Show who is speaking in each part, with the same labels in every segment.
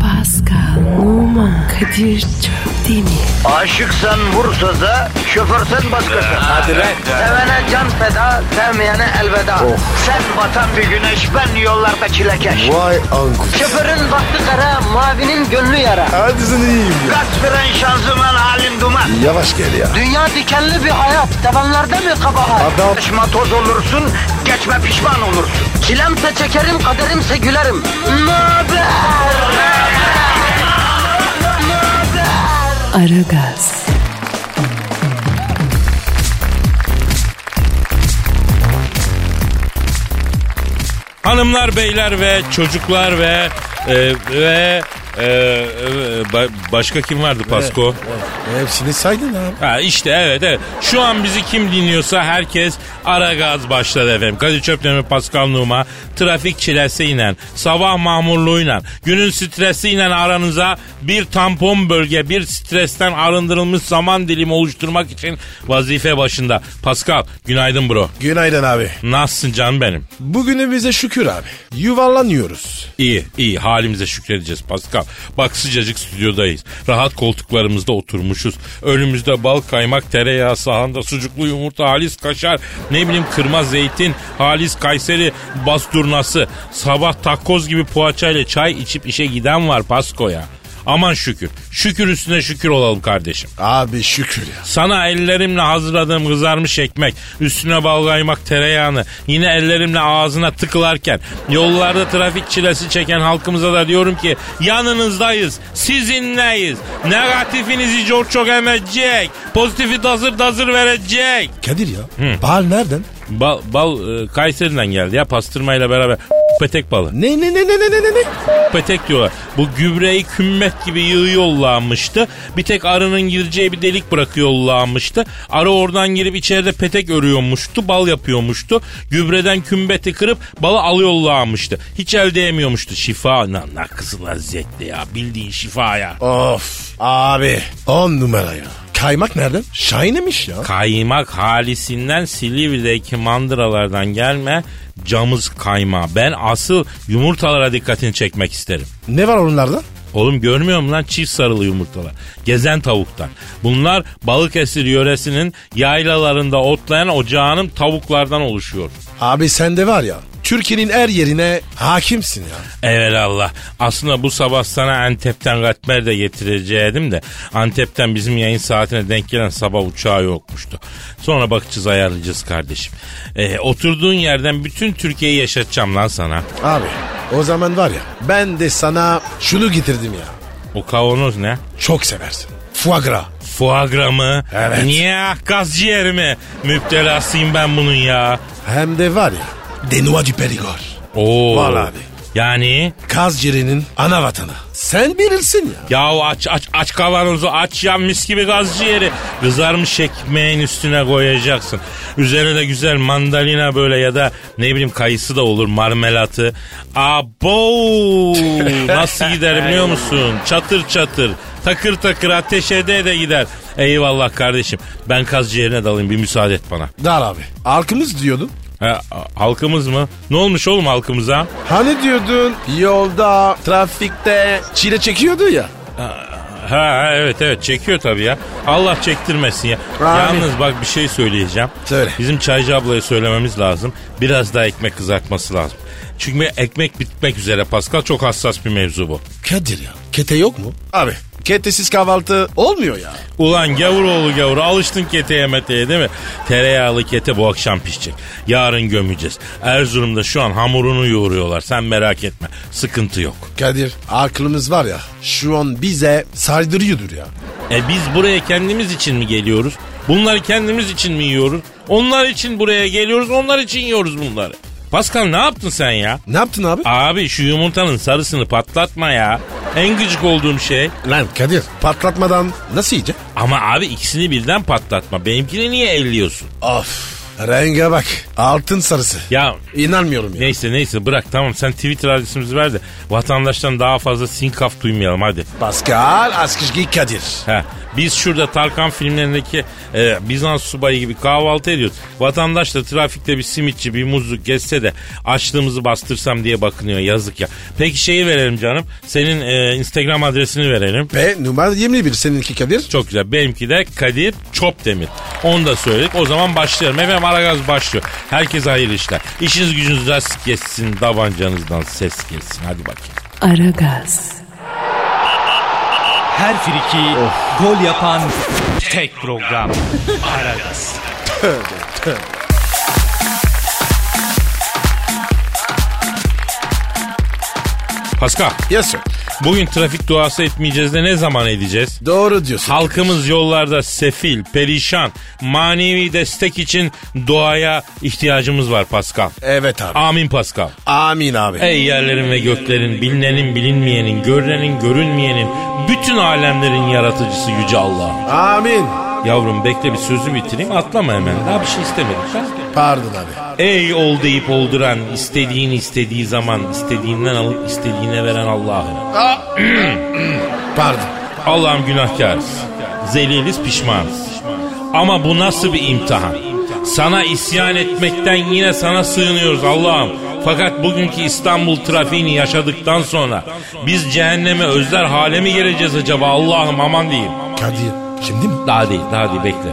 Speaker 1: Pascal, Oman, Kadir çok değil mi?
Speaker 2: Aşıksan vursa da şoförsen başkasın.
Speaker 3: Hadi Oh. lan.
Speaker 2: Sevene can feda, sevmeyene elveda. Sen batan bir güneş, ben yollarda çilekeş.
Speaker 3: Vay anku.
Speaker 2: Şoförün baktı kara, mavinin gönlü yara.
Speaker 3: Hadi sen iyiyim ya.
Speaker 2: Kasperen şanzıman halin duman.
Speaker 3: Yavaş gel ya.
Speaker 2: Dünya dikenli bir hayat, sevenlerde mi kabahar?
Speaker 3: Adam-
Speaker 2: Yaklaşma toz olursun, geçme pişman olursun. Çilemse çekerim, kaderimse gülerim. Möber!
Speaker 1: Aragaz,
Speaker 4: Hanımlar, beyler ve çocuklar ve e, ve e, e, ba- başka kim vardı Pasko?
Speaker 3: Hepsini saydın abi.
Speaker 4: Ha işte evet evet. Şu an bizi kim dinliyorsa herkes ara gaz başladı efendim. Kadir Çöpdemir Pascal Numa trafik çilesiyle, sabah mahmurluğuyla, günün stresiyle aranıza bir tampon bölge, bir stresten arındırılmış zaman dilimi oluşturmak için vazife başında. Pascal günaydın bro.
Speaker 3: Günaydın abi.
Speaker 4: Nasılsın canım benim?
Speaker 3: Bugünümüze şükür abi. Yuvarlanıyoruz.
Speaker 4: İyi iyi halimize şükredeceğiz Pascal. Bak sıcacık stüdyodayız. Rahat koltuklarımızda oturmuşuz. Önümüzde bal kaymak tereyağı sahanda sucuklu yumurta halis kaşar. Ne bileyim kırma zeytin halis kayseri basturnası. Sabah takoz gibi poğaçayla çay içip işe giden var Pasko'ya. Aman şükür. Şükür üstüne şükür olalım kardeşim.
Speaker 3: Abi şükür ya.
Speaker 4: Sana ellerimle hazırladığım kızarmış ekmek, üstüne bal kaymak tereyağını, yine ellerimle ağzına tıkılarken, yollarda trafik çilesi çeken halkımıza da diyorum ki yanınızdayız, sizinleyiz. Negatifinizi çok çok emecek, pozitifi dazır dazır verecek.
Speaker 3: Kadir ya. Bal nereden?
Speaker 4: Bal, bal e, Kayseri'den geldi ya pastırmayla beraber petek balı.
Speaker 3: Ne ne ne ne ne ne ne ne?
Speaker 4: Petek diyorlar. Bu gübreyi kümmet gibi yığı yollamıştı. Bir tek arının gireceği bir delik bırakıyor yollamıştı. Arı oradan girip içeride petek örüyormuştu. Bal yapıyormuştu. Gübreden kümbeti kırıp balı alıyor yollamıştı. Hiç el değmiyormuştu. Şifa lan lan kızıl lezzetli ya. Bildiğin şifa ya.
Speaker 3: Of abi. On numara ya. Kaymak nereden? Şahinemiş ya.
Speaker 4: Kaymak halisinden Silivri'deki mandıralardan gelme camız kayma. Ben asıl yumurtalara dikkatini çekmek isterim.
Speaker 3: Ne var onlarda?
Speaker 4: Oğlum görmüyor musun lan çift sarılı yumurtalar? Gezen tavuktan. Bunlar Balıkesir yöresinin yaylalarında otlayan ocağının tavuklardan oluşuyor.
Speaker 3: Abi sen de var ya. Türkiye'nin her yerine hakimsin ya.
Speaker 4: Evelallah. Aslında bu sabah sana Antep'ten katmer de getireceğim de Antep'ten bizim yayın saatine denk gelen sabah uçağı yokmuştu. Sonra bakacağız ayarlayacağız kardeşim. Ee, oturduğun yerden bütün Türkiye'yi yaşatacağım lan sana.
Speaker 3: Abi o zaman var ya ben de sana şunu getirdim ya.
Speaker 4: O kavanoz ne?
Speaker 3: Çok seversin. Foie gras.
Speaker 4: Fuagra mı?
Speaker 3: Evet.
Speaker 4: Niye ah, gaz ciğeri mi? Müptelasıyım ben bunun ya.
Speaker 3: Hem de var ya. Denua du Périgord.
Speaker 4: Oo.
Speaker 3: Vallahi abi.
Speaker 4: Yani
Speaker 3: Kaz ciğerinin ana vatanı. Sen bilirsin ya.
Speaker 4: yahu aç aç aç kavanozu aç ya mis gibi gaz ciğeri. Kızarmış ekmeğin üstüne koyacaksın. Üzerine de güzel mandalina böyle ya da ne bileyim kayısı da olur marmelatı. Abo nasıl gider biliyor musun? Çatır çatır takır takır ateş ede de gider. Eyvallah kardeşim ben kaz ciğerine dalayım bir müsaade et bana.
Speaker 3: Dar abi. Halkımız diyordun.
Speaker 4: Ha, halkımız mı? Ne olmuş oğlum halkımıza?
Speaker 3: Hani diyordun yolda, trafikte çile çekiyordu ya.
Speaker 4: Ha evet evet çekiyor tabii ya. Allah çektirmesin ya.
Speaker 3: Amin.
Speaker 4: Yalnız bak bir şey söyleyeceğim.
Speaker 3: Söyle.
Speaker 4: Bizim çaycı ablaya söylememiz lazım. Biraz daha ekmek kızartması lazım. Çünkü ekmek bitmek üzere Pascal çok hassas bir mevzu bu.
Speaker 3: Kadir ya. Kete yok mu? Abi ketesiz kahvaltı olmuyor ya.
Speaker 4: Ulan gavuroğlu gavur alıştın keteye meteye değil mi? Tereyağlı kete bu akşam pişecek. Yarın gömeceğiz. Erzurum'da şu an hamurunu yoğuruyorlar. Sen merak etme. Sıkıntı yok.
Speaker 3: Kadir aklımız var ya şu an bize saydırıyordur ya.
Speaker 4: E biz buraya kendimiz için mi geliyoruz? Bunları kendimiz için mi yiyoruz? Onlar için buraya geliyoruz, onlar için yiyoruz bunları. Pascal ne yaptın sen ya?
Speaker 3: Ne yaptın abi?
Speaker 4: Abi şu yumurtanın sarısını patlatma ya. En gıcık olduğum şey.
Speaker 3: Lan Kadir patlatmadan nasıl yiyecek?
Speaker 4: Ama abi ikisini birden patlatma. Benimkini niye elliyorsun?
Speaker 3: Of Renge bak. Altın sarısı.
Speaker 4: Ya
Speaker 3: İnanmıyorum ya.
Speaker 4: neyse neyse bırak tamam sen Twitter adresimizi ver de vatandaştan daha fazla sinkaf duymayalım hadi.
Speaker 3: Pascal Askışgi Kadir.
Speaker 4: Ha, biz şurada Tarkan filmlerindeki e, Bizans subayı gibi kahvaltı ediyoruz. Vatandaş da trafikte bir simitçi bir muzluk geçse de açlığımızı bastırsam diye bakınıyor yazık ya. Peki şeyi verelim canım senin e, Instagram adresini verelim.
Speaker 3: Ve numara 21 seninki Kadir.
Speaker 4: Çok güzel. Benimki de Kadir Çopdemir. Onu da söyledik. O zaman başlayalım. Efendim Aragaz başlıyor. Herkese hayırlı işler. İşiniz gücünüz rast kessin. Davancanızdan ses gelsin. Hadi bakayım.
Speaker 1: Aragaz,
Speaker 5: Her friki gol yapan tek program. Aragaz.
Speaker 4: Pascal.
Speaker 3: Yes sir.
Speaker 4: Bugün trafik duası etmeyeceğiz de ne zaman edeceğiz?
Speaker 3: Doğru diyorsun.
Speaker 4: Halkımız yollarda sefil, perişan, manevi destek için duaya ihtiyacımız var Pascal.
Speaker 3: Evet abi.
Speaker 4: Amin Pascal.
Speaker 3: Amin abi.
Speaker 4: Ey yerlerin ve göklerin, bilinenin bilinmeyenin, görünenin görünmeyenin, bütün alemlerin yaratıcısı Yüce Allah.
Speaker 3: Amin.
Speaker 4: Yavrum bekle bir sözü bitireyim atlama hemen. Daha bir şey istemedim.
Speaker 3: Pardon abi.
Speaker 4: Ey ol deyip olduran, istediğini istediği zaman, istediğinden alıp istediğine veren Allah'ım.
Speaker 3: Pardon.
Speaker 4: Allah'ım günahkarız. Zeliliz pişmanız. Ama bu nasıl bir imtihan? Sana isyan etmekten yine sana sığınıyoruz Allah'ım. Fakat bugünkü İstanbul trafiğini yaşadıktan sonra biz cehenneme özler hale mi geleceğiz acaba Allah'ım aman diyeyim.
Speaker 3: Kadir. Şimdi mi?
Speaker 4: Daha değil daha değil bekle.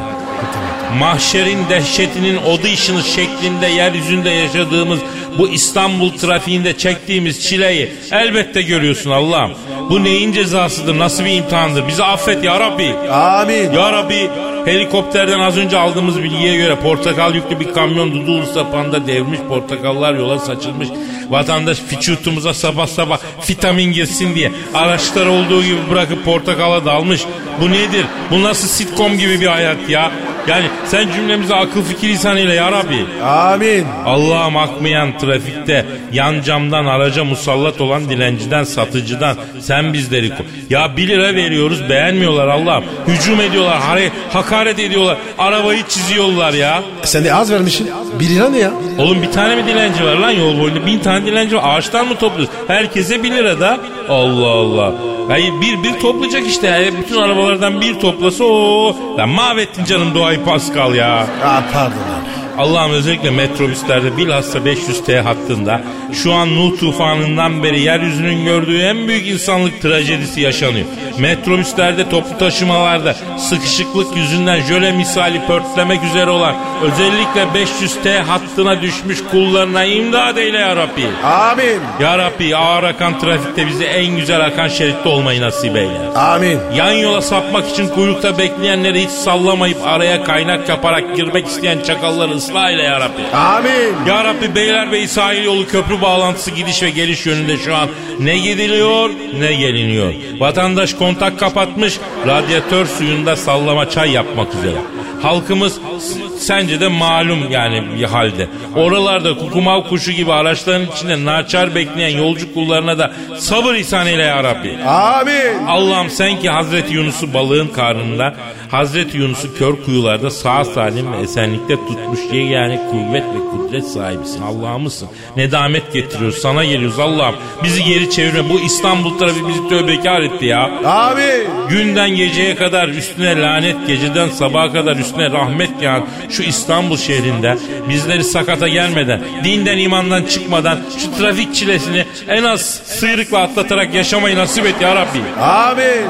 Speaker 4: Mahşerin dehşetinin odu işini şeklinde yeryüzünde yaşadığımız bu İstanbul trafiğinde çektiğimiz çileyi elbette görüyorsun Allah'ım. Bu neyin cezasıdır nasıl bir imtihandır bizi affet ya Rabbi.
Speaker 3: Amin.
Speaker 4: Ya Rabbi helikopterden az önce aldığımız bilgiye göre portakal yüklü bir kamyon Dudullu sapanda devrilmiş portakallar yola saçılmış. Vatandaş fiçutumuza sabah sabah vitamin girsin diye araçları olduğu gibi bırakıp portakala dalmış. Bu nedir? Bu nasıl sitcom gibi bir hayat ya? Yani sen cümlemizi akıl fikir lisanıyla ya Rabbi.
Speaker 3: Amin.
Speaker 4: Allah'ım akmayan trafikte yan camdan araca musallat olan dilenciden satıcıdan sen bizleri ko- Ya 1 lira veriyoruz beğenmiyorlar Allah'ım. Hücum ediyorlar hare- hakaret ediyorlar arabayı çiziyorlar ya.
Speaker 3: Sen de az vermişsin. Bir lira ne ya?
Speaker 4: Oğlum bir tane mi dilenci var lan yol boyunda bin tane dilenci var ağaçtan mı topluyoruz? Herkese 1 lira da Allah Allah. Hayır bir bir toplayacak işte. Yani bütün arabalardan bir toplasa o. Lan mahvettin canım doğayı Pascal ya.
Speaker 3: Aa, pardon abi.
Speaker 4: Allah'ım özellikle metrobüslerde bilhassa 500T hattında şu an Nuh tufanından beri yeryüzünün gördüğü en büyük insanlık trajedisi yaşanıyor. Metrobüslerde toplu taşımalarda sıkışıklık yüzünden jöle misali pörtlemek üzere olan özellikle 500T hattına düşmüş kullarına imdad eyle ya Rabbi.
Speaker 3: Amin.
Speaker 4: Ya Rabbi ağır akan trafikte bize en güzel akan şeritte olmayı nasip eyle.
Speaker 3: Amin.
Speaker 4: Yan yola sapmak için kuyrukta bekleyenleri hiç sallamayıp araya kaynak yaparak girmek isteyen çakalları ıslah ile ya Rabbi.
Speaker 3: Amin.
Speaker 4: Ya Rabbi Beylerbeyi sahil yolu köprü bağlantısı gidiş ve geliş yönünde şu an ne gidiliyor ne geliniyor. Vatandaş kontak kapatmış radyatör suyunda sallama çay yapmak üzere. Halkımız s- sence de malum yani bir halde. Oralarda kukumav kuşu gibi araçların içinde naçar bekleyen yolcu kullarına da sabır ihsan eyle ya Rabbi.
Speaker 3: Amin.
Speaker 4: Allah'ım sen ki Hazreti Yunus'u balığın karnında, Hazreti Yunus'u kör kuyularda sağ salim ve esenlikte tutmuş diye yani kuvvet ve kudret sahibisin. Allah'ımızsın. Nedamet getiriyoruz. Sana geliyoruz Allah'ım. Bizi geri çevirme. Bu İstanbul tarafı bizi tövbekar etti ya.
Speaker 3: Amin.
Speaker 4: Günden geceye kadar üstüne lanet, geceden sabaha kadar üstüne rahmet yağan şu İstanbul şehrinde bizleri sakata gelmeden, dinden imandan çıkmadan şu trafik çilesini en az sıyrıkla atlatarak yaşamayı nasip et ya Rabbi.
Speaker 3: Amin.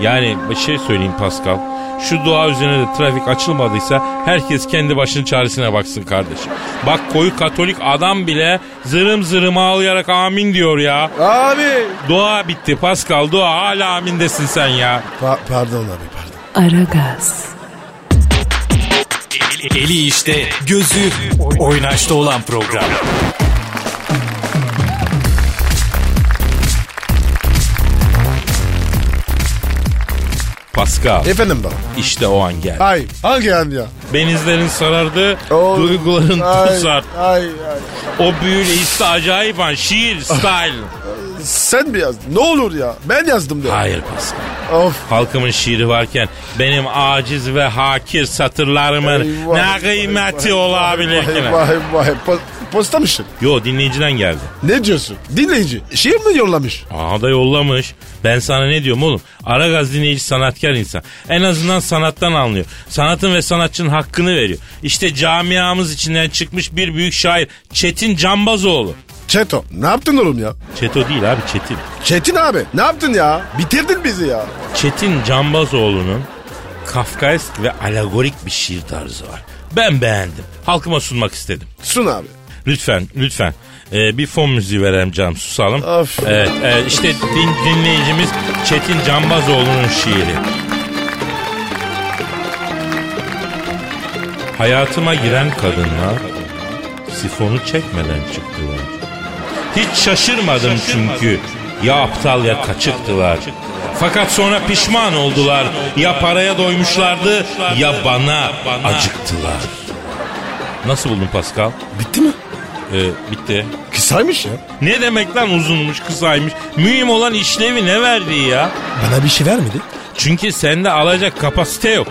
Speaker 4: Yani bir şey söyleyeyim Pascal. Şu dua üzerine de trafik açılmadıysa herkes kendi başının çaresine baksın kardeşim. Bak koyu katolik adam bile zırım zırım ağlayarak amin diyor ya.
Speaker 3: Amin.
Speaker 4: Dua bitti Pascal dua hala amindesin sen ya.
Speaker 3: Pa- pardon abi pardon.
Speaker 1: Aragaz,
Speaker 5: Eli işte, gözü oynaşta olan program.
Speaker 4: Pascal
Speaker 3: Efendim baba.
Speaker 4: işte o an geldi.
Speaker 3: Ay hangi an ya?
Speaker 4: Benizlerin sarardı,
Speaker 3: Oğlum,
Speaker 4: duyguların
Speaker 3: ay,
Speaker 4: tuz arttı.
Speaker 3: Ay ay.
Speaker 4: O büyüleyici acayip an şiir style.
Speaker 6: Sen mi yazdın? Ne olur ya. Ben yazdım de.
Speaker 4: Hayır Pascal.
Speaker 6: Of.
Speaker 4: Halkımın şiiri varken benim aciz ve hakir satırlarımın
Speaker 6: Eyvah,
Speaker 4: ne kıymeti olabilir ki?
Speaker 6: Vay vay vay. Po- Postamışsın.
Speaker 4: Yo dinleyiciden geldi.
Speaker 6: Ne diyorsun? Dinleyici. Şiir mi yollamış?
Speaker 4: Aha da yollamış. Ben sana ne diyorum oğlum? Aragaz dinleyici sanatkar insan. En azından sanattan anlıyor. Sanatın ve sanatçının hakkını veriyor. İşte camiamız içinden çıkmış bir büyük şair Çetin Cambazoğlu.
Speaker 6: Çeto. Ne yaptın oğlum ya?
Speaker 4: Çeto değil abi Çetin.
Speaker 6: Çetin abi. Ne yaptın ya? Bitirdin bizi ya.
Speaker 4: Çetin Cambazoğlu'nun kafkaesk ve alegorik bir şiir tarzı var. Ben beğendim. Halkıma sunmak istedim.
Speaker 6: Sun abi.
Speaker 4: Lütfen, lütfen. Ee, bir fon müziği verelim canım, susalım.
Speaker 6: Of.
Speaker 4: Evet, evet, işte din- dinleyicimiz Çetin Cambazoğlu'nun şiiri. Hayatıma giren kadınlar sifonu çekmeden çıktılar. Hiç şaşırmadım çünkü ya aptal ya kaçıktılar. Fakat sonra pişman oldular. Ya paraya doymuşlardı ya bana acıktılar. Nasıl buldun Pascal?
Speaker 6: Bitti mi?
Speaker 4: Ee, bitti.
Speaker 6: Kısaymış ya.
Speaker 4: Ne demek lan uzunmuş kısaymış. Mühim olan işlevi ne verdiği ya.
Speaker 3: Bana bir şey vermedi.
Speaker 4: Çünkü sende alacak kapasite yok.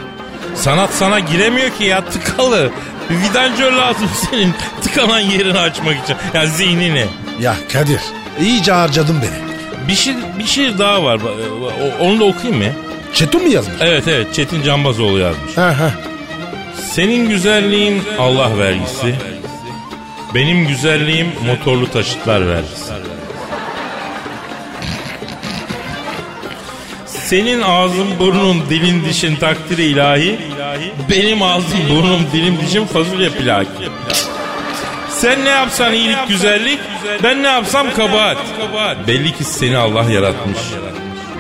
Speaker 4: Sanat sana giremiyor ki ya tıkalı. Bir vidancör lazım senin tıkanan yerini açmak için. Ya zihnini.
Speaker 3: Ya Kadir iyice harcadın beni.
Speaker 4: Bir şiir, bir şiir daha var. e, O- Onu da okuyayım mı?
Speaker 3: Çetin mi yazmış?
Speaker 4: Evet evet Çetin Cambazoğlu yazmış.
Speaker 3: Ha ha.
Speaker 4: Senin güzelliğin Allah vergisi. Benim güzelliğim motorlu taşıtlar vergisi. Senin ağzın, burnun, dilin, dişin takdiri ilahi. Benim ağzım, burnum, dilim, dişim fasulye plaki. Sen ne yapsan iyilik, güzellik. Ben ne yapsam kabahat. Belli ki seni Allah yaratmış.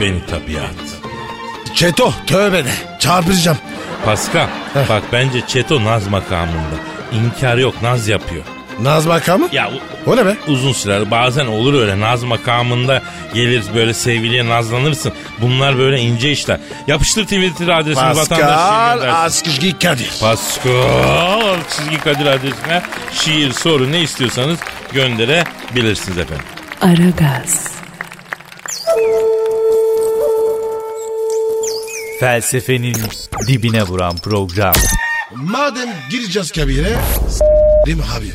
Speaker 4: Beni tabiat.
Speaker 3: Çeto tövbe de. Çarpıracağım.
Speaker 4: Pascal bak bence Çeto naz makamında. İnkar yok naz yapıyor.
Speaker 3: Naz makamı?
Speaker 4: Ya
Speaker 3: O ne be?
Speaker 4: u- uzun sürer bazen olur öyle naz makamında gelir böyle sevgiliye nazlanırsın. Bunlar böyle ince işler. Yapıştır Twitter adresini vatandaş şey
Speaker 3: Pascal Askışki Kadir.
Speaker 4: Pascal çizgi Kadir adresine şiir soru ne istiyorsanız gönderebilirsiniz efendim.
Speaker 1: Aragaz,
Speaker 5: Felsefenin dibine vuran program.
Speaker 3: Madem gireceğiz kabire. Değil mi abi?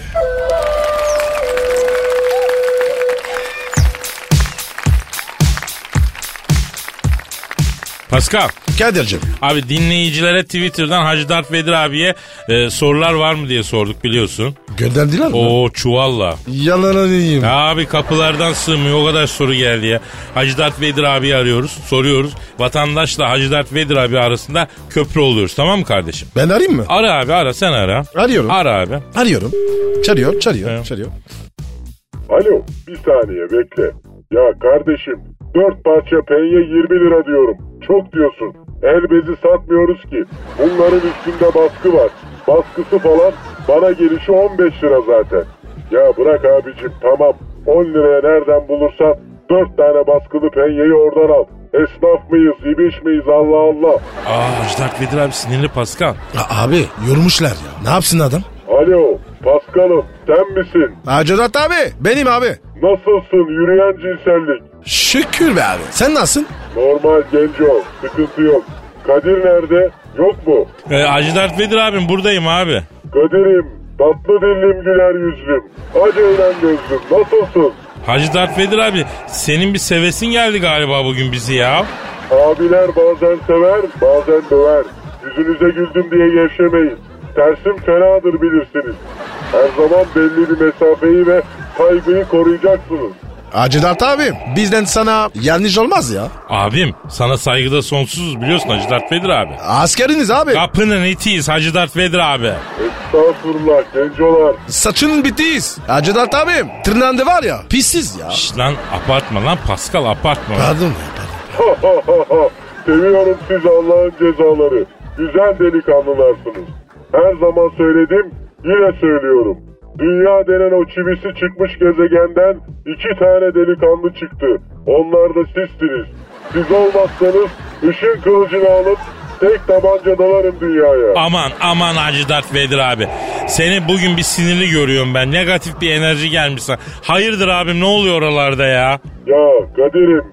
Speaker 4: Pascal
Speaker 3: Kadir'cim.
Speaker 4: abi dinleyicilere Twitter'dan Hacı Dert Vedir abiye e, sorular var mı diye sorduk biliyorsun.
Speaker 3: Gönderdiler mi?
Speaker 4: Oo çuvalla.
Speaker 3: Yalananıyım.
Speaker 4: Ya Abi kapılardan sığmıyor o kadar soru geldi ya. Hacı Dert Vedir abi arıyoruz soruyoruz. Vatandaşla Hacı Dert Vedir abi arasında köprü oluyoruz tamam mı kardeşim?
Speaker 3: Ben arayayım mı?
Speaker 4: Ara abi ara sen ara.
Speaker 3: Arıyorum.
Speaker 4: Ara abi.
Speaker 3: Arıyorum. Çarıyor, çarıyor,
Speaker 4: Evet.
Speaker 3: çarıyor.
Speaker 7: Alo bir saniye bekle. Ya kardeşim 4 parça penye 20 lira diyorum. Çok diyorsun. El bezi satmıyoruz ki. Bunların üstünde baskı var. Baskısı falan bana gelişi 15 lira zaten. Ya bırak abicim tamam. 10 liraya nereden bulursan 4 tane baskılı penyeyi oradan al. Esnaf mıyız, ibiş miyiz Allah Allah.
Speaker 4: Aa Hacı Dert Vedir abi sinirli Pascal.
Speaker 3: Ya abi yormuşlar ya. Ne yapsın adam?
Speaker 7: Alo, Paskal'ım sen misin?
Speaker 3: Acedat abi. Benim abi.
Speaker 7: Nasılsın yürüyen cinsellik?
Speaker 3: Şükür be abi. Sen nasılsın?
Speaker 7: Normal genco, sıkıntı yok. Kadir nerede? Yok mu?
Speaker 4: Ee, Hacı Dert Vedir abim buradayım abi.
Speaker 7: Kadir'im, tatlı dillim güler yüzlüm. Acı ölen gözlüm, nasılsın?
Speaker 4: Hacı Dert Vedir abi senin bir sevesin geldi galiba bugün bizi ya.
Speaker 7: Abiler bazen sever, bazen döver. Yüzünüze güldüm diye gevşemeyin. Tersim fenadır bilirsiniz. Her zaman belli bir mesafeyi ve saygıyı koruyacaksınız.
Speaker 3: Acedat abi. Bizden sana yanlış olmaz ya.
Speaker 4: Abim sana saygıda sonsuzuz biliyorsun Hacı Dert Vedir abi.
Speaker 3: Askeriniz abi.
Speaker 4: Kapının itiyiz Hacı Dert Vedir abi.
Speaker 7: Estağfurullah gencolar.
Speaker 3: Saçının bitiyiz. Acedat abim. Tırnağında var ya. Pissiz ya.
Speaker 4: Şş, lan abartma lan Pascal abartma.
Speaker 3: Pardon ya. pardon.
Speaker 7: Seviyorum sizi Allah'ın cezaları. Güzel delikanlılarsınız. Her zaman söyledim, yine söylüyorum. Dünya denen o çivisi çıkmış gezegenden iki tane delikanlı çıktı. Onlar da sizsiniz. Siz olmazsanız ışın kılıcını alıp tek tabanca dalarım dünyaya.
Speaker 4: Aman aman Hacı Dert Vedir abi. Seni bugün bir sinirli görüyorum ben. Negatif bir enerji gelmiş sana. Hayırdır abim ne oluyor oralarda ya?
Speaker 7: Ya Kadir'im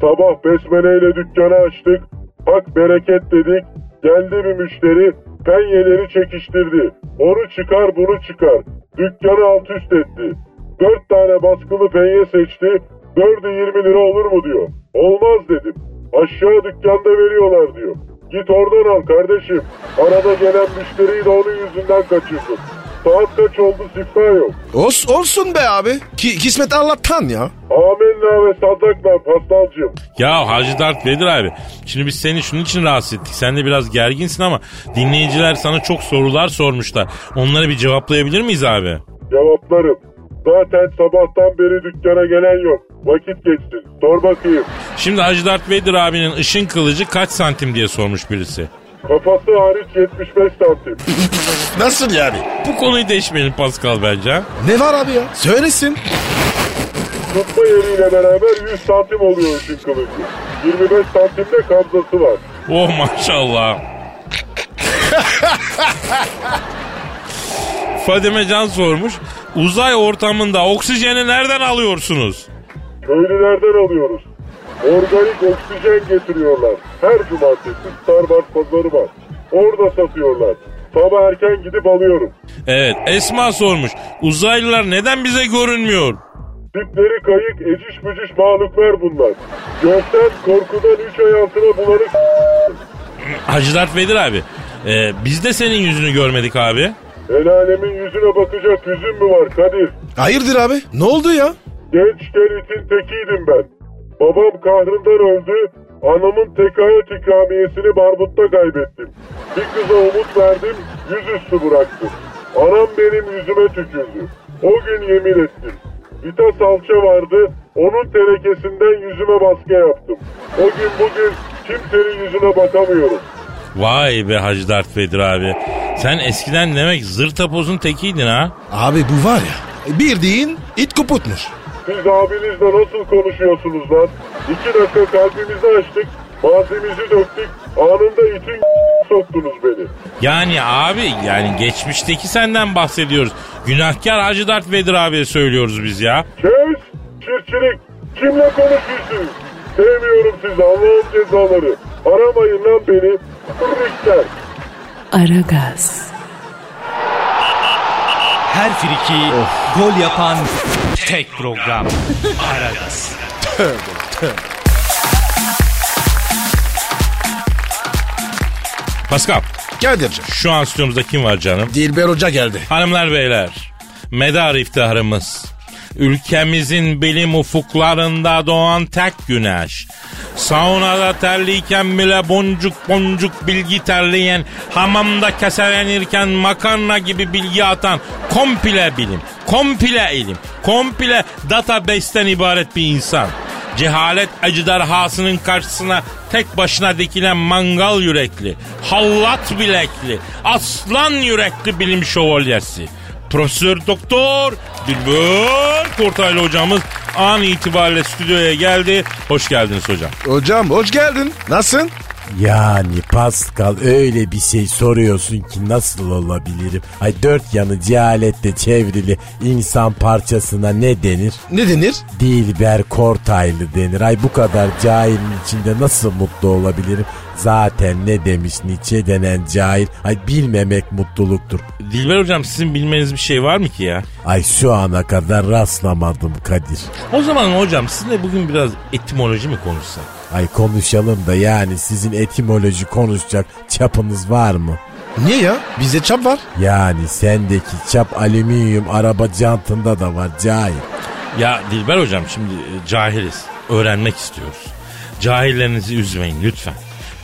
Speaker 7: sabah besmeleyle dükkanı açtık. Bak bereket dedik. Geldi bir müşteri penyeleri çekiştirdi. Onu çıkar bunu çıkar. Dükkanı alt üst etti. Dört tane baskılı penye seçti. Dördü 20 lira olur mu diyor. Olmaz dedim. Aşağı dükkanda veriyorlar diyor. Git oradan al kardeşim. Arada gelen müşteriyi de onun yüzünden kaçırsın. Saat kaç oldu sifra yok.
Speaker 6: Os, olsun be abi. Ki, kismet Allah'tan ya.
Speaker 7: Amenna ve sadakla pastalcığım.
Speaker 4: Ya Hacı Dert Vedir abi. Şimdi biz seni şunun için rahatsız ettik. Sen de biraz gerginsin ama dinleyiciler sana çok sorular sormuşlar. Onları bir cevaplayabilir miyiz abi?
Speaker 7: Cevaplarım. Zaten sabahtan beri dükkana gelen yok. Vakit geçti. Sor bakayım.
Speaker 4: Şimdi Hacı Dert Vedir abinin ışın kılıcı kaç santim diye sormuş birisi.
Speaker 7: Kafası hariç 75 santim.
Speaker 6: Nasıl yani?
Speaker 4: Bu konuyu değişmeyelim Pascal bence. ha?
Speaker 6: Ne var abi ya? Söylesin.
Speaker 7: Tutma yeriyle beraber 100 santim oluyor ışın kılıcı. 25 santimde kabzası var.
Speaker 4: Oh maşallah. Fadime Can sormuş. Uzay ortamında oksijeni nereden alıyorsunuz?
Speaker 7: Köylülerden alıyoruz. Organik oksijen getiriyorlar. Her cumartesi Starbucks pazarı var. Orada satıyorlar. Sabah erken gidip alıyorum.
Speaker 4: Evet Esma sormuş. Uzaylılar neden bize görünmüyor?
Speaker 7: Dipleri kayık, eciş bücüş mağluklar bunlar. Gökten korkudan üç ay altına bulanık
Speaker 4: Hacı Dert Vedir abi. e, biz de senin yüzünü görmedik abi.
Speaker 7: El alemin yüzüne bakacak yüzün mü var Kadir?
Speaker 6: Hayırdır abi? Ne oldu ya?
Speaker 7: Gençken itin tekiydim ben. Babam kahrından öldü, anamın tekayet ikramiyesini barbutta kaybettim. Bir kıza umut verdim, yüzüstü bıraktım. Anam benim yüzüme tükürdü. O gün yemin ettim. Vita salça vardı, onun tenekesinden yüzüme baskı yaptım. O gün bugün kimsenin yüzüne bakamıyorum.
Speaker 4: Vay be Hacı Dert Vedir abi. Sen eskiden demek zır tapozun tekiydin ha.
Speaker 3: Abi bu var ya bildiğin it koputmuş.
Speaker 7: Siz abinizle nasıl konuşuyorsunuz lan? İki dakika kalbimizi açtık, malzememizi döktük, anında itin soktunuz beni.
Speaker 4: Yani abi yani geçmişteki senden bahsediyoruz. Günahkar Hacı Dert Vedir abiye söylüyoruz biz ya.
Speaker 7: Kes, çirçilik, kimle konuşuyorsunuz? Sevmiyorum sizi Allah'ın cezaları. Aramayın lan beni, kırıklar.
Speaker 1: Aragaz.
Speaker 5: Her friki gol yapan tek program. Aragaz.
Speaker 4: Pascal
Speaker 6: Kadir'cim.
Speaker 4: şu an stüdyomuzda kim var canım?
Speaker 3: Dilber Hoca geldi.
Speaker 4: Hanımlar beyler, medar iftiharımız. Ülkemizin bilim ufuklarında doğan tek güneş. Saunada terliyken bile boncuk boncuk bilgi terleyen, hamamda keselenirken makarna gibi bilgi atan komple bilim, komple ilim, komple database'ten ibaret bir insan. Cehalet acıdarhasının karşısına tek başına dikilen mangal yürekli, hallat bilekli, aslan yürekli bilim şövalyesi. Profesör Doktor Dilber Kortaylı hocamız an itibariyle stüdyoya geldi. Hoş geldiniz hocam.
Speaker 6: Hocam hoş geldin. Nasılsın?
Speaker 8: Yani Pascal öyle bir şey soruyorsun ki nasıl olabilirim? Ay dört yanı cehaletle çevrili insan parçasına ne denir?
Speaker 6: Ne denir?
Speaker 8: Dilber Kortaylı denir. Ay bu kadar cahilin içinde nasıl mutlu olabilirim? Zaten ne demiş Nietzsche denen cahil? Ay bilmemek mutluluktur.
Speaker 4: Dilber hocam sizin bilmeniz bir şey var mı ki ya?
Speaker 8: Ay şu ana kadar rastlamadım Kadir.
Speaker 4: O zaman hocam sizinle bugün biraz etimoloji mi konuşsak?
Speaker 8: Ay konuşalım da yani sizin etimoloji konuşacak çapınız var mı?
Speaker 6: Niye ya? Bizde çap var.
Speaker 8: Yani sendeki çap alüminyum araba jantında da var cahil.
Speaker 4: Ya Dilber hocam şimdi e, cahiliz. Öğrenmek istiyoruz. Cahillerinizi üzmeyin lütfen.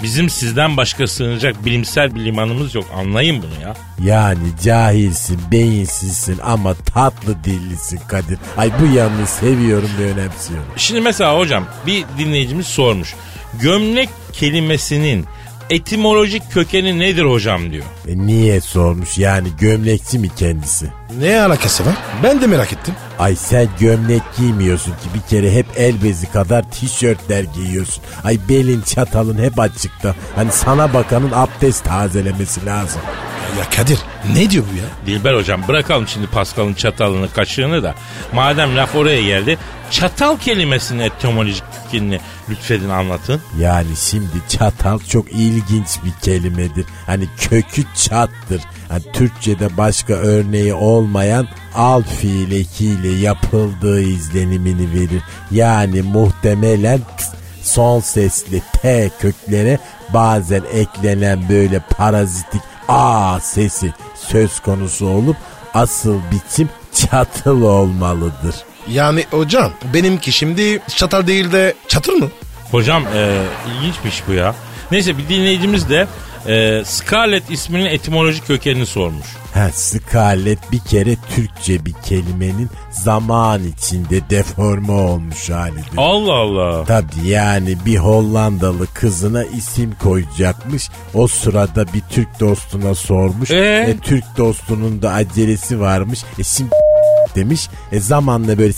Speaker 4: Bizim sizden başka sığınacak bilimsel bir limanımız yok. Anlayın bunu ya.
Speaker 8: Yani cahilsin, beyinsizsin ama tatlı dillisin Kadir. Ay bu yanını seviyorum ve önemsiyorum.
Speaker 4: Şimdi mesela hocam bir dinleyicimiz sormuş. Gömlek kelimesinin etimolojik kökeni nedir hocam diyor.
Speaker 8: E niye sormuş yani gömlekçi mi kendisi?
Speaker 3: Ne alakası var? Ben de merak ettim.
Speaker 8: Ay sen gömlek giymiyorsun ki bir kere hep el bezi kadar tişörtler giyiyorsun. Ay belin çatalın hep açıkta. Hani sana bakanın abdest tazelemesi lazım.
Speaker 3: E, Ya Kadir ne diyor bu ya?
Speaker 4: Dilber hocam bırakalım şimdi Pascal'ın çatalını kaşığını da. Madem laf oraya geldi çatal kelimesinin etimolojikini lütfedin anlatın.
Speaker 8: Yani şimdi çatal çok ilginç bir kelimedir. Hani kökü çattır. Hani Türkçe'de başka örneği olmayan al fiil ekiyle yapıldığı izlenimini verir. Yani muhtemelen son sesli T köklere bazen eklenen böyle parazitik A sesi söz konusu olup asıl biçim çatıl olmalıdır.
Speaker 6: Yani hocam benimki şimdi çatal değil de çatır mı?
Speaker 4: Hocam e, ilginçmiş bu ya. Neyse bir dinleyicimiz de e, Scarlet isminin etimolojik kökenini sormuş.
Speaker 8: Ha, skalet bir kere Türkçe bir kelimenin zaman içinde deforme olmuş halidir.
Speaker 4: Allah Allah.
Speaker 8: Tabii yani bir Hollandalı kızına isim koyacakmış. O sırada bir Türk dostuna sormuş.
Speaker 4: Ee?
Speaker 8: E, Türk dostunun da acelesi varmış. E şimdi demiş. E zamanla böyle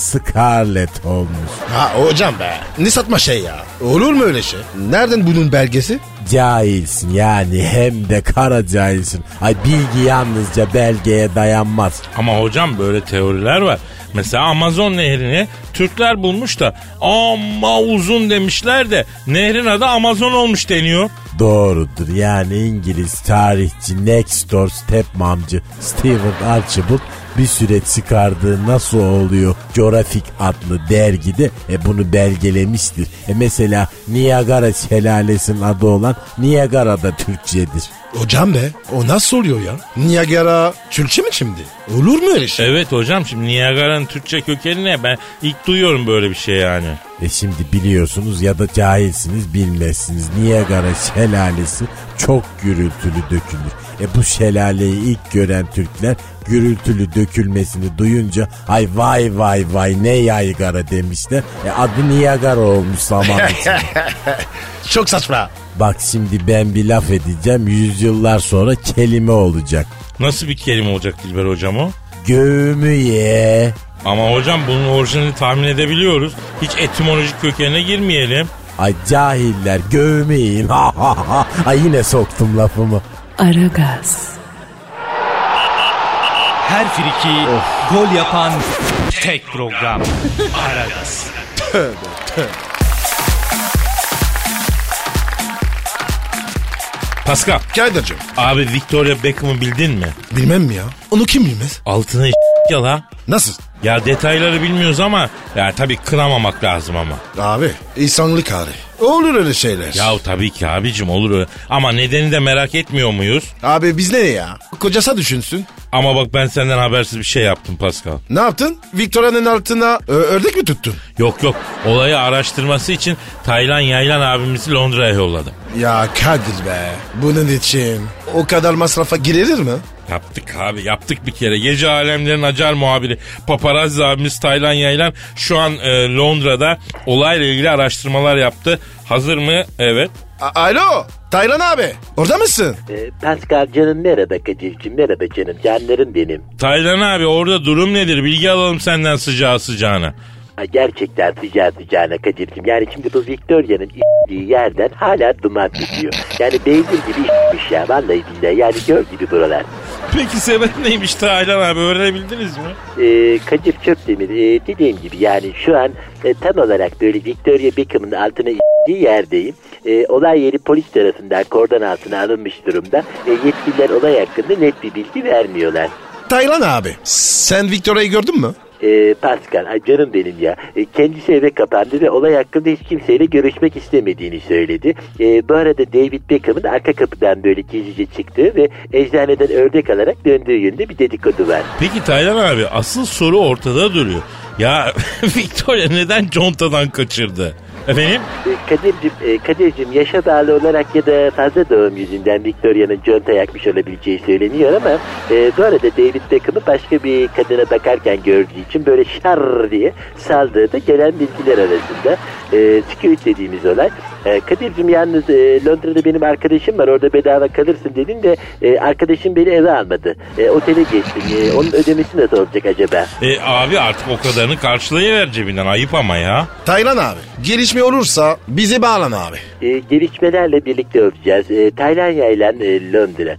Speaker 8: Scarlet olmuş.
Speaker 6: Ha hocam be. Ne satma şey ya. Olur mu öyle şey? Nereden bunun belgesi?
Speaker 8: Cahilsin yani hem de kara cahilsin. Ay bilgi yalnızca belgeye dayanmaz.
Speaker 4: Ama hocam böyle teoriler var. Mesela Amazon nehrini Türkler bulmuş da ama uzun demişler de nehrin adı Amazon olmuş deniyor.
Speaker 8: Doğrudur yani İngiliz tarihçi next door stepmamcı Stephen Archibald bir süre çıkardığı nasıl oluyor coğrafik adlı dergide e, bunu belgelemiştir. E mesela Niagara şelalesinin adı olan Niagara'da Türkçedir.
Speaker 3: Hocam be o nasıl oluyor ya? Niagara Türkçe mi şimdi? Olur mu öyle şey?
Speaker 4: Evet hocam şimdi Niagara'nın Türkçe kökeni ne? Ben ilk duyuyorum böyle bir şey yani.
Speaker 8: E şimdi biliyorsunuz ya da cahilsiniz bilmezsiniz. Niagara şelalesi çok gürültülü dökülür. E bu şelaleyi ilk gören Türkler gürültülü dökülmesini duyunca ay vay vay vay ne yaygara demişler. E adı Niagara olmuş zaman içinde.
Speaker 3: Çok saçma.
Speaker 8: Bak şimdi ben bir laf edeceğim yüzyıllar sonra kelime olacak.
Speaker 4: Nasıl bir kelime olacak Dilber hocam o?
Speaker 8: Göğümü ye.
Speaker 4: Ama hocam bunun orijinalini tahmin edebiliyoruz. Hiç etimolojik kökenine girmeyelim.
Speaker 8: Ay cahiller göğümü yiyin. Ay yine soktum lafımı.
Speaker 1: Aragaz,
Speaker 5: Her friki gol yapan tek program. Aragaz.
Speaker 4: Pascal,
Speaker 6: Kadir'cim.
Speaker 4: abi Victoria Beckham'ı bildin mi?
Speaker 6: Bilmem mi ya? Onu kim bilmez?
Speaker 4: Altına ya la.
Speaker 6: Nasıl?
Speaker 4: Ya detayları bilmiyoruz ama ya tabii kınamamak lazım ama.
Speaker 6: Abi insanlık hali. Olur öyle şeyler.
Speaker 4: Ya tabii ki abicim olur öyle. Ama nedeni de merak etmiyor muyuz?
Speaker 6: Abi biz ne ya? Kocasa düşünsün.
Speaker 4: Ama bak ben senden habersiz bir şey yaptım Pascal.
Speaker 6: Ne yaptın? Victoria'nın altına ö, ördek mi tuttun?
Speaker 4: Yok yok olayı araştırması için Taylan Yaylan abimizi Londra'ya yolladım.
Speaker 6: Ya Kadir be. Bunun için o kadar masrafa girilir mi?
Speaker 4: Yaptık abi yaptık bir kere. Gece alemlerin acar muhabiri paparazzi abimiz Taylan Yaylan şu an e, Londra'da olayla ilgili araştırmalar yaptı. Hazır mı? Evet.
Speaker 6: A- Alo Taylan abi orada mısın?
Speaker 9: Ee, Pascal canım merhaba Kadir'cim merhaba canım canlarım benim.
Speaker 4: Taylan abi orada durum nedir? Bilgi alalım senden sıcağı sıcağına.
Speaker 9: Ha, gerçekten sıcağı sıcağına Kadir'cim yani şimdi bu Victoria'nın i**liği yerden hala duman tutuyor. Yani beygir gibi i**miş ya vallahi billahi yani gör gibi buralar.
Speaker 4: Peki sebep neymiş Taylan abi öğrenebildiniz mi?
Speaker 9: Ee, Kadir Çöpdemir ee, dediğim gibi yani şu an e, tam olarak böyle Victoria Beckham'ın altına i**liği yerdeyim. Ee, olay yeri polis tarafından kordon altına alınmış durumda. Ee, yetkililer olay hakkında net bir bilgi vermiyorlar.
Speaker 6: Taylan abi sen Victoria'yı gördün mü?
Speaker 9: Ee, Pascal, ay canım benim ya. Ee, kendisi eve kapandı ve olay hakkında hiç kimseyle görüşmek istemediğini söyledi. Ee, bu arada David Beckham'ın arka kapıdan böyle gizlice çıktığı ve eczaneden ördek alarak döndüğü yönünde bir dedikodu var.
Speaker 4: Peki Taylan abi asıl soru ortada duruyor. Ya Victoria neden contadan kaçırdı? Efendim?
Speaker 9: Ee, Kadir'cim, e, Kadir'cim yaşa bağlı olarak ya da fazla doğum yüzünden Victoria'nın conta yakmış olabileceği söyleniyor ama e, bu arada David Beckham'ı başka bir kadına bakarken gördüğü için böyle şar diye saldığı da gelen bilgiler arasında. E, security dediğimiz olay. E, Kadir'cim yalnız e, Londra'da benim arkadaşım var orada bedava kalırsın dedin de e, arkadaşım beni eve almadı. E, otele geçtim. E, onun ödemesi nasıl olacak acaba?
Speaker 4: E, abi artık o kadarını karşılayıver cebinden ayıp ama ya.
Speaker 6: Taylan abi gelişme olursa bizi bağlan abi.
Speaker 9: E, gelişmelerle birlikte olacağız. E, Taylan yaylan e, Londra.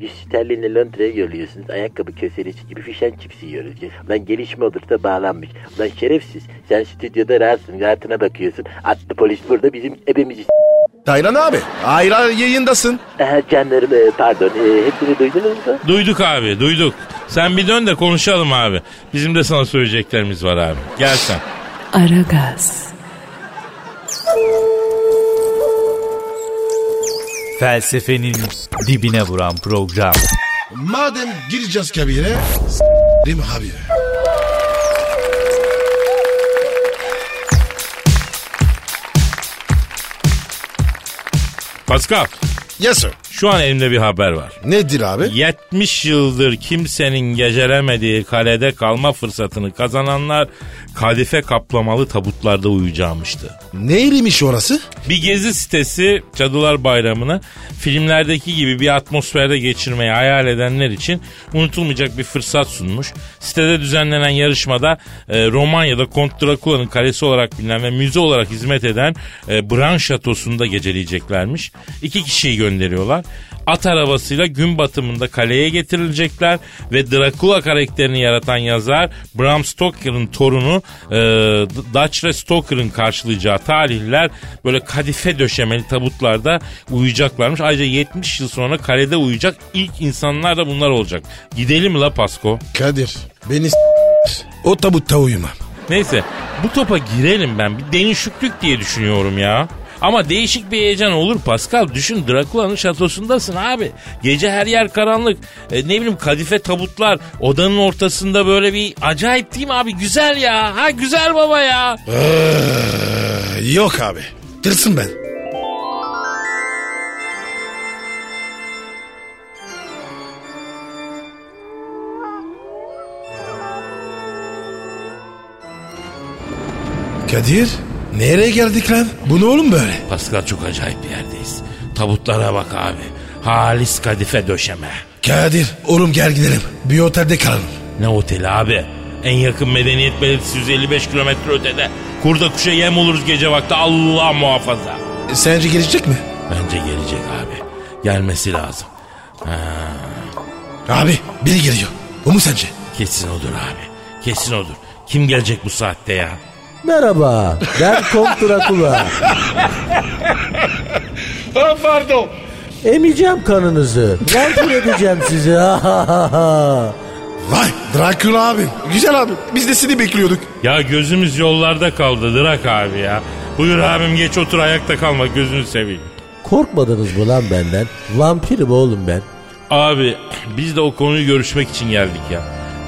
Speaker 9: Yüz sterlinle Londra'ya yolluyorsunuz. Ayakkabı köselesi gibi fişen çipsi yiyoruz. Ya, Lan gelişme olursa bağlanmış. Lan şerefsiz. Sen stüdyoda rahatsın. Rahatına bakıyorsun. Atlı polis burada bizim ebemizi s-
Speaker 3: Taylan abi. Ayran yayındasın.
Speaker 9: Aha, canlarım e, pardon. E, hepsini duydunuz mu?
Speaker 4: Duyduk abi duyduk. Sen bir dön de konuşalım abi. Bizim de sana söyleyeceklerimiz var abi. Gel sen.
Speaker 5: Aragaz,
Speaker 10: Felsefenin dibine vuran program.
Speaker 11: Madem gireceğiz kabire. Değil mi abi?
Speaker 4: Pascal
Speaker 3: Yes sir.
Speaker 4: şu an elimde bir haber var.
Speaker 3: Nedir abi?
Speaker 4: 70 yıldır kimsenin geceremediği kalede kalma fırsatını kazananlar kadife kaplamalı tabutlarda uyuyacağımıştı.
Speaker 3: Neyliymiş orası?
Speaker 4: Bir gezi sitesi Cadılar Bayramı'nı filmlerdeki gibi bir atmosferde geçirmeyi hayal edenler için unutulmayacak bir fırsat sunmuş. Sitede düzenlenen yarışmada e, Romanya'da Kont Drakula'nın kalesi olarak bilinen ve müze olarak hizmet eden e, Bran Şatosu'nda geceleyeceklermiş. İki kişiyi gönderiyorlar. At arabasıyla gün batımında kaleye getirilecekler ve Drakula karakterini yaratan yazar Bram Stoker'ın torunu e, Dutch Stoker'ın karşılayacağı talihler böyle kadife döşemeli tabutlarda uyuyacaklarmış. Ayrıca 70 yıl sonra kalede uyuyacak ilk insanlar da bunlar olacak. Gidelim la Pasko.
Speaker 3: Kadir. Beni s- o tabutta uyumam.
Speaker 4: Neyse bu topa girelim ben. Bir denişüklük diye düşünüyorum ya. Ama değişik bir heyecan olur Pascal. Düşün Drakula'nın şatosundasın abi. Gece her yer karanlık. E, ne bileyim kadife tabutlar. Odanın ortasında böyle bir acayip değil mi abi? Güzel ya. Ha güzel baba ya.
Speaker 3: Ee, yok abi. Tırsın ben. Kadir nereye geldik lan? Bu ne oğlum böyle?
Speaker 4: Pascal çok acayip bir yerdeyiz. Tabutlara bak abi. Halis kadife döşeme.
Speaker 3: Kadir oğlum gel gidelim. Bir otelde kalalım.
Speaker 4: Ne oteli abi? En yakın medeniyet belirtisi 155 kilometre ötede. Kurda kuşa yem oluruz gece vakti Allah muhafaza.
Speaker 3: E, Sence gelecek mi?
Speaker 4: Bence gelecek abi. Gelmesi lazım.
Speaker 3: Abi biri geliyor. O mu sence?
Speaker 4: Kesin odur abi. Kesin odur. Kim gelecek bu saatte ya?
Speaker 6: Merhaba ben Kont Drakula.
Speaker 4: Pardon.
Speaker 6: Emeceğim kanınızı. Yardım edeceğim sizi.
Speaker 3: Vay Dracula abim. Güzel abim. Biz de seni bekliyorduk.
Speaker 4: Ya gözümüz yollarda kaldı Drak abi ya. Buyur abim geç otur ayakta kalma gözünü seveyim.
Speaker 6: Korkmadınız mı lan benden? Vampirim oğlum ben.
Speaker 4: Abi biz de o konuyu görüşmek için geldik ya.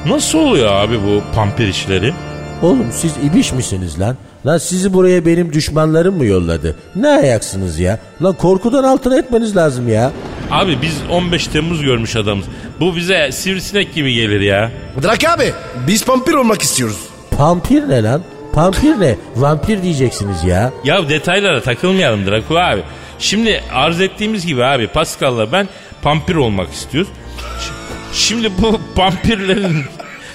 Speaker 4: Nasıl oluyor abi bu pamper işleri?
Speaker 6: Oğlum siz ibiş misiniz lan? Lan sizi buraya benim düşmanlarım mı yolladı? Ne ayaksınız ya? Lan korkudan altına etmeniz lazım ya.
Speaker 4: Abi biz 15 Temmuz görmüş adamız. Bu bize sivrisinek gibi gelir ya.
Speaker 3: Drak abi biz vampir olmak istiyoruz.
Speaker 6: Pampir ne lan? Pampir ne? Vampir diyeceksiniz ya.
Speaker 4: Ya detaylara takılmayalım Drakula abi. Şimdi arz ettiğimiz gibi abi Pascal'la ben pampir olmak istiyoruz. Ş- Şimdi bu pampirlerin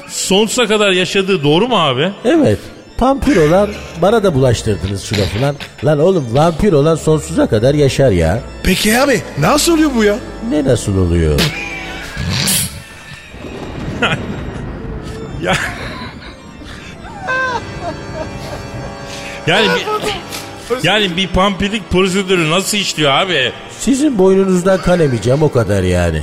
Speaker 4: sonsuza kadar yaşadığı doğru mu abi?
Speaker 6: Evet. Pampir olan bana da bulaştırdınız şu lafı lan. Lan oğlum vampir olan sonsuza kadar yaşar ya.
Speaker 3: Peki abi nasıl oluyor bu ya?
Speaker 6: Ne nasıl oluyor?
Speaker 4: Ya. yani bir, yani bir pampirlik prosedürü nasıl işliyor abi?
Speaker 6: Sizin boynunuzdan kan emeceğim o kadar yani.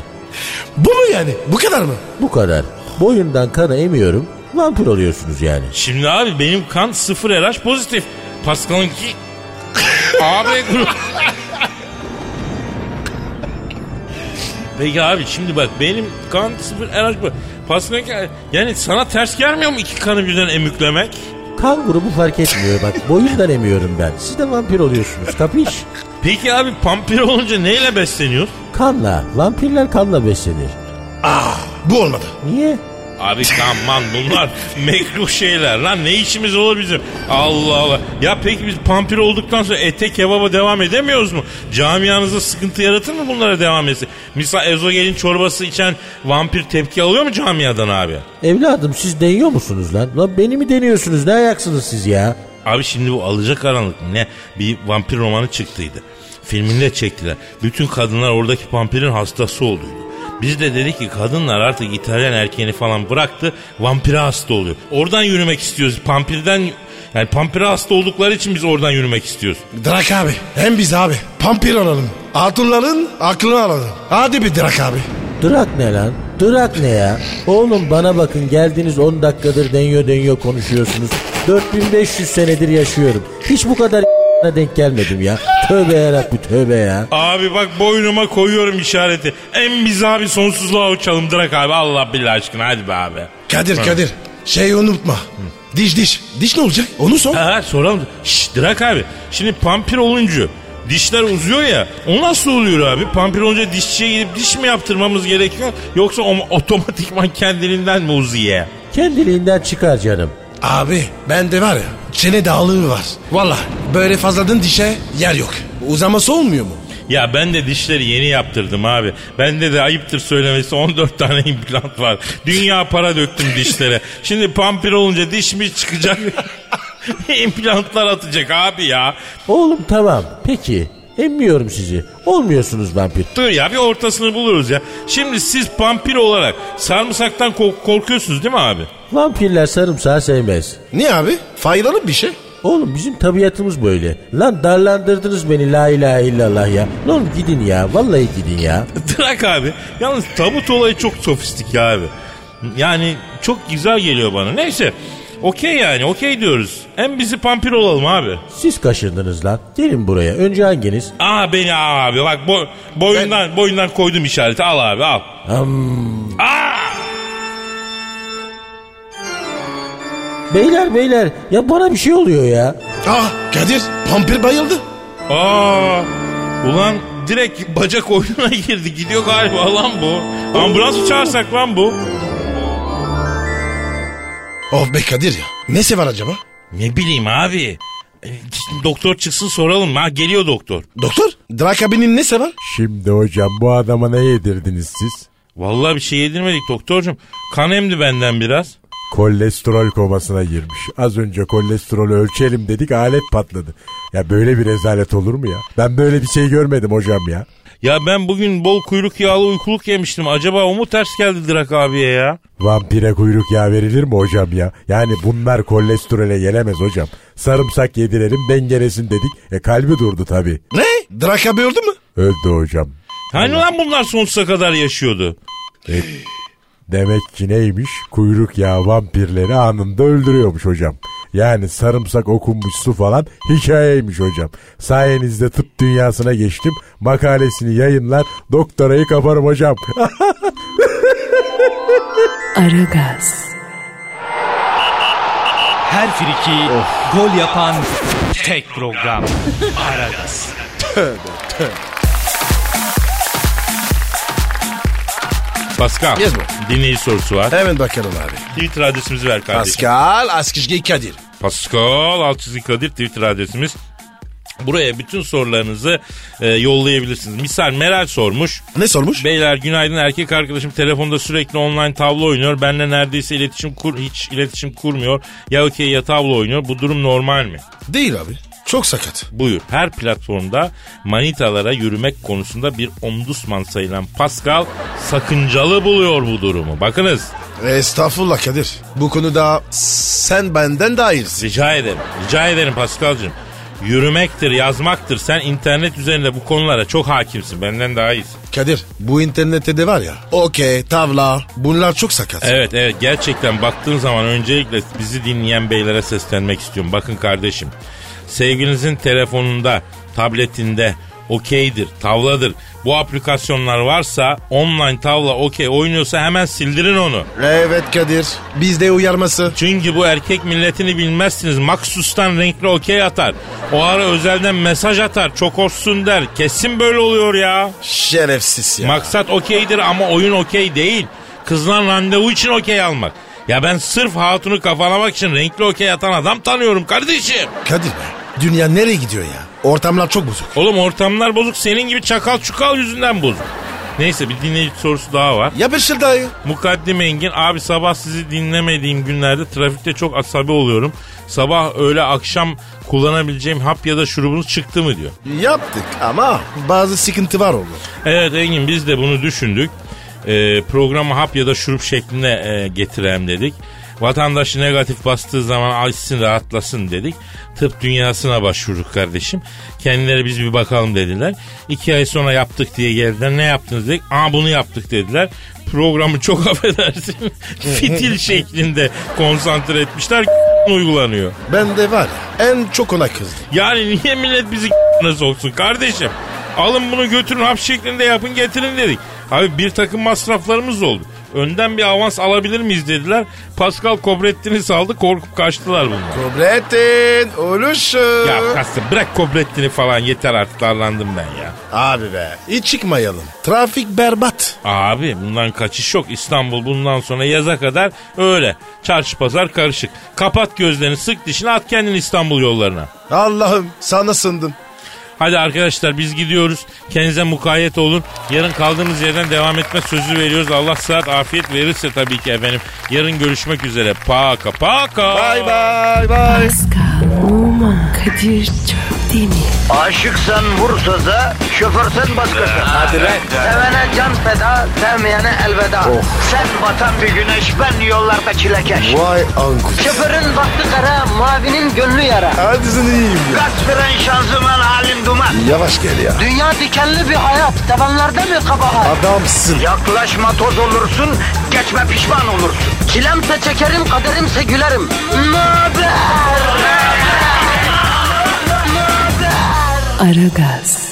Speaker 3: Bu mu yani? Bu kadar mı?
Speaker 6: Bu kadar. Boyundan kanı emiyorum. Vampir oluyorsunuz yani.
Speaker 4: Şimdi abi benim kan sıfır RH pozitif. Pascal'ınki abi Peki abi şimdi bak benim kan sıfır RH pozitif. Pascal'ınki yani sana ters gelmiyor mu iki kanı birden emüklemek?
Speaker 6: Kan grubu fark etmiyor bak. Boyundan emiyorum ben. Siz de vampir oluyorsunuz. Kapış?
Speaker 4: Peki abi pampir olunca neyle besleniyor?
Speaker 6: Kanla. Vampirler kanla beslenir.
Speaker 3: Bu olmadı.
Speaker 6: Niye?
Speaker 4: Abi aman bunlar mekruh şeyler lan ne işimiz olur bizim Allah Allah ya peki biz pampir olduktan sonra ete kebaba devam edemiyoruz mu camianızda sıkıntı yaratır mı bunlara devam etsin misal ezogelin çorbası içen vampir tepki alıyor mu camiadan abi
Speaker 6: Evladım siz deniyor musunuz lan? Lan beni mi deniyorsunuz? Ne ayaksınız siz ya?
Speaker 4: Abi şimdi bu alacakaranlık mı ne bir vampir romanı çıktıydı. Filmini de çektiler. Bütün kadınlar oradaki vampirin hastası olduydu. Biz de dedik ki kadınlar artık İtalyan erkeğini falan bıraktı. Vampire hasta oluyor. Oradan yürümek istiyoruz. Pampirden yani pampire hasta oldukları için biz oradan yürümek istiyoruz.
Speaker 3: Drak abi. Hem biz abi. Pampir alalım. Hatunların aklını alalım. Hadi bir Drak abi.
Speaker 8: Durak ne lan? Durak ne ya? Oğlum bana bakın geldiğiniz 10 dakikadır deniyor deniyor konuşuyorsunuz. 4500 senedir yaşıyorum. Hiç bu kadar denk gelmedim ya. Tövbe yarabbim tövbe ya.
Speaker 4: Abi bak boynuma koyuyorum işareti. En biz abi sonsuzluğa uçalım Drak abi. Allah billah aşkına hadi be abi.
Speaker 3: Kadir Kadir. Şey unutma. Diş diş. Diş ne olacak? Onu sor.
Speaker 4: Ha, ha, soralım. Şşş Drak abi. Şimdi pampir olunca dişler uzuyor ya. O nasıl oluyor abi? Pampir olunca dişçiye gidip diş mi yaptırmamız gerekiyor? Yoksa o, otomatikman kendiliğinden mi uzuyor?
Speaker 8: Kendiliğinden çıkar canım.
Speaker 3: Abi bende var ya çene dağılığı var. Valla böyle fazladan dişe yer yok. Uzaması olmuyor mu?
Speaker 4: Ya ben de dişleri yeni yaptırdım abi. Bende de ayıptır söylemesi 14 tane implant var. Dünya para döktüm dişlere. Şimdi pampir olunca diş mi çıkacak? İmplantlar atacak abi ya.
Speaker 8: Oğlum tamam peki emmiyorum sizi. Olmuyorsunuz vampir.
Speaker 4: Dur ya bir ortasını buluruz ya. Şimdi siz pampir olarak sarımsaktan kork- korkuyorsunuz değil mi abi?
Speaker 8: Vampirler sarımsağı sevmez.
Speaker 3: Niye abi? Faydalı bir şey.
Speaker 8: Oğlum bizim tabiatımız böyle. Lan darlandırdınız beni la ilahe illallah ya. Ne oğlum gidin ya vallahi gidin ya.
Speaker 4: Drak abi. Yalnız tabut olayı çok sofistik ya abi. Yani çok güzel geliyor bana. Neyse. Okey yani okey diyoruz. Hem bizi pampir olalım abi.
Speaker 8: Siz kaşındınız lan. Gelin buraya. Önce hanginiz?
Speaker 4: Aa Ah beni al abi bak bo- boyundan boyundan koydum işareti al abi al. Ah!
Speaker 8: Beyler beyler ya bana bir şey oluyor ya.
Speaker 3: Ah Kadir pampir bayıldı.
Speaker 4: Aa ulan direkt bacak oyununa girdi gidiyor galiba lan bu. Ambulans çağırsak lan bu.
Speaker 3: Of Oh be Kadir ya. Nesi var acaba?
Speaker 4: Ne bileyim abi. E, Doktor çıksın soralım. Ha geliyor doktor.
Speaker 3: Doktor Drak abinin nesi var?
Speaker 8: Şimdi hocam bu adama ne yedirdiniz siz?
Speaker 4: Vallahi bir şey yedirmedik doktorcum. Kan emdi benden biraz.
Speaker 8: Kolesterol komasına girmiş. Az önce kolesterolü ölçelim dedik alet patladı. Ya böyle bir rezalet olur mu ya? Ben böyle bir şey görmedim hocam ya.
Speaker 4: Ya ben bugün bol kuyruk yağlı uykuluk yemiştim. Acaba o mu ters geldi Drak abiye ya?
Speaker 8: Vampire kuyruk yağ verilir mi hocam ya? Yani bunlar kolesterole gelemez hocam. Sarımsak yedirelim dengelesin dedik. E kalbi durdu tabii.
Speaker 3: Ne? Drak abi öldü mü?
Speaker 8: Öldü hocam.
Speaker 4: Hani lan bunlar sonsuza kadar yaşıyordu?
Speaker 8: Demek ki neymiş? Kuyruk yağı vampirleri anında öldürüyormuş hocam. Yani sarımsak okunmuş su falan hikayeymiş hocam. Sayenizde tıp dünyasına geçtim. Makalesini yayınlar, doktorayı kaparım hocam.
Speaker 1: Aragaz,
Speaker 5: Her friki gol yapan tek program. Aragaz.
Speaker 4: Pascal.
Speaker 3: Yes, bro.
Speaker 4: Dinleyici sorusu var.
Speaker 3: Hemen bakalım abi.
Speaker 4: Twitter adresimizi ver kardeşim.
Speaker 3: Pascal Askışgi Kadir.
Speaker 4: Pascal Altçizgi Kadir Twitter adresimiz. Buraya bütün sorularınızı e, yollayabilirsiniz. Misal Meral sormuş.
Speaker 3: Ne sormuş?
Speaker 4: Beyler günaydın erkek arkadaşım telefonda sürekli online tavla oynuyor. Benle neredeyse iletişim kur hiç iletişim kurmuyor. Ya okey ya tavla oynuyor. Bu durum normal mi?
Speaker 3: Değil abi. Çok sakat.
Speaker 4: Buyur. Her platformda manitalara yürümek konusunda bir omdusman sayılan Pascal sakıncalı buluyor bu durumu. Bakınız.
Speaker 6: Estağfurullah Kadir. Bu konuda sen benden daha iyisin.
Speaker 4: Rica ederim. Rica ederim Pascal'cığım. Yürümektir, yazmaktır. Sen internet üzerinde bu konulara çok hakimsin. Benden daha iyisin.
Speaker 6: Kadir bu internette de var ya. Okey tavla bunlar çok sakat.
Speaker 4: Evet evet gerçekten baktığın zaman öncelikle bizi dinleyen beylere seslenmek istiyorum. Bakın kardeşim sevgilinizin telefonunda, tabletinde okeydir, tavladır. Bu aplikasyonlar varsa online tavla okey oynuyorsa hemen sildirin onu.
Speaker 6: Evet Kadir bizde uyarması.
Speaker 4: Çünkü bu erkek milletini bilmezsiniz. Maksustan renkli okey atar. O ara özelden mesaj atar. Çok hoşsun der. Kesin böyle oluyor ya.
Speaker 6: Şerefsiz ya.
Speaker 4: Maksat okeydir ama oyun okey değil. Kızdan randevu için okey almak. Ya ben sırf hatunu kafalamak için renkli okey atan adam tanıyorum kardeşim.
Speaker 6: Kadir be dünya nereye gidiyor ya? Ortamlar çok bozuk.
Speaker 4: Oğlum ortamlar bozuk senin gibi çakal çukal yüzünden bozuk. Neyse bir dinleyici sorusu daha var.
Speaker 6: Yapışır şey dayı.
Speaker 4: Mukaddim Engin abi sabah sizi dinlemediğim günlerde trafikte çok asabi oluyorum. Sabah öğle akşam kullanabileceğim hap ya da şurubunuz çıktı mı diyor.
Speaker 6: Yaptık ama bazı sıkıntı var oldu.
Speaker 4: Evet Engin biz de bunu düşündük. E, programı hap ya da şurup şeklinde e, getirelim dedik. Vatandaşı negatif bastığı zaman açsın rahatlasın dedik. Tıp dünyasına başvurduk kardeşim. Kendileri biz bir bakalım dediler. İki ay sonra yaptık diye geldiler. Ne yaptınız dedik. Aa bunu yaptık dediler. Programı çok affedersin fitil şeklinde konsantre etmişler uygulanıyor.
Speaker 6: Ben de var ya en çok ona kızdım.
Speaker 4: Yani niye millet bizi soksun kardeşim? Alın bunu götürün hap şeklinde yapın getirin dedik. Abi bir takım masraflarımız oldu. Önden bir avans alabilir miyiz dediler. Pascal Kobrettin'i saldı korkup kaçtılar bunlar.
Speaker 6: Kobrettin oluşu.
Speaker 4: Ya kastım bırak Kobrettin'i falan yeter artık darlandım ben ya.
Speaker 6: Abi be hiç çıkmayalım. Trafik berbat.
Speaker 4: Abi bundan kaçış yok. İstanbul bundan sonra yaza kadar öyle. Çarşı pazar karışık. Kapat gözlerini sık dişini at kendini İstanbul yollarına.
Speaker 6: Allah'ım sana sındım.
Speaker 4: Hadi arkadaşlar biz gidiyoruz. Kendinize mukayyet olun. Yarın kaldığımız yerden devam etme sözü veriyoruz. Allah saat afiyet verirse tabii ki efendim. Yarın görüşmek üzere. Paka paka.
Speaker 6: Bay bay bay.
Speaker 1: Pascal, Oman, Kadir çok değil mi?
Speaker 2: Aşıksan vursa da şoförsen başkasın. Hadi
Speaker 5: lan.
Speaker 2: Sevene can feda, sevmeyene elveda. Sen batan bir güneş, ben yollarda çilekeş.
Speaker 6: Vay anku.
Speaker 2: Şoförün baktı kara, mavinin gönlü yara.
Speaker 6: Hadi sen iyiyim ya.
Speaker 2: Kasperen şanzıman halin duman.
Speaker 6: Yavaş gel ya.
Speaker 2: Dünya dikenli bir hayat, sevenlerde mi kabahar?
Speaker 6: Adamsın.
Speaker 2: Yaklaşma toz olursun, geçme pişman olursun. Çilemse çekerim, kaderimse gülerim. Möber!
Speaker 1: Aragaz.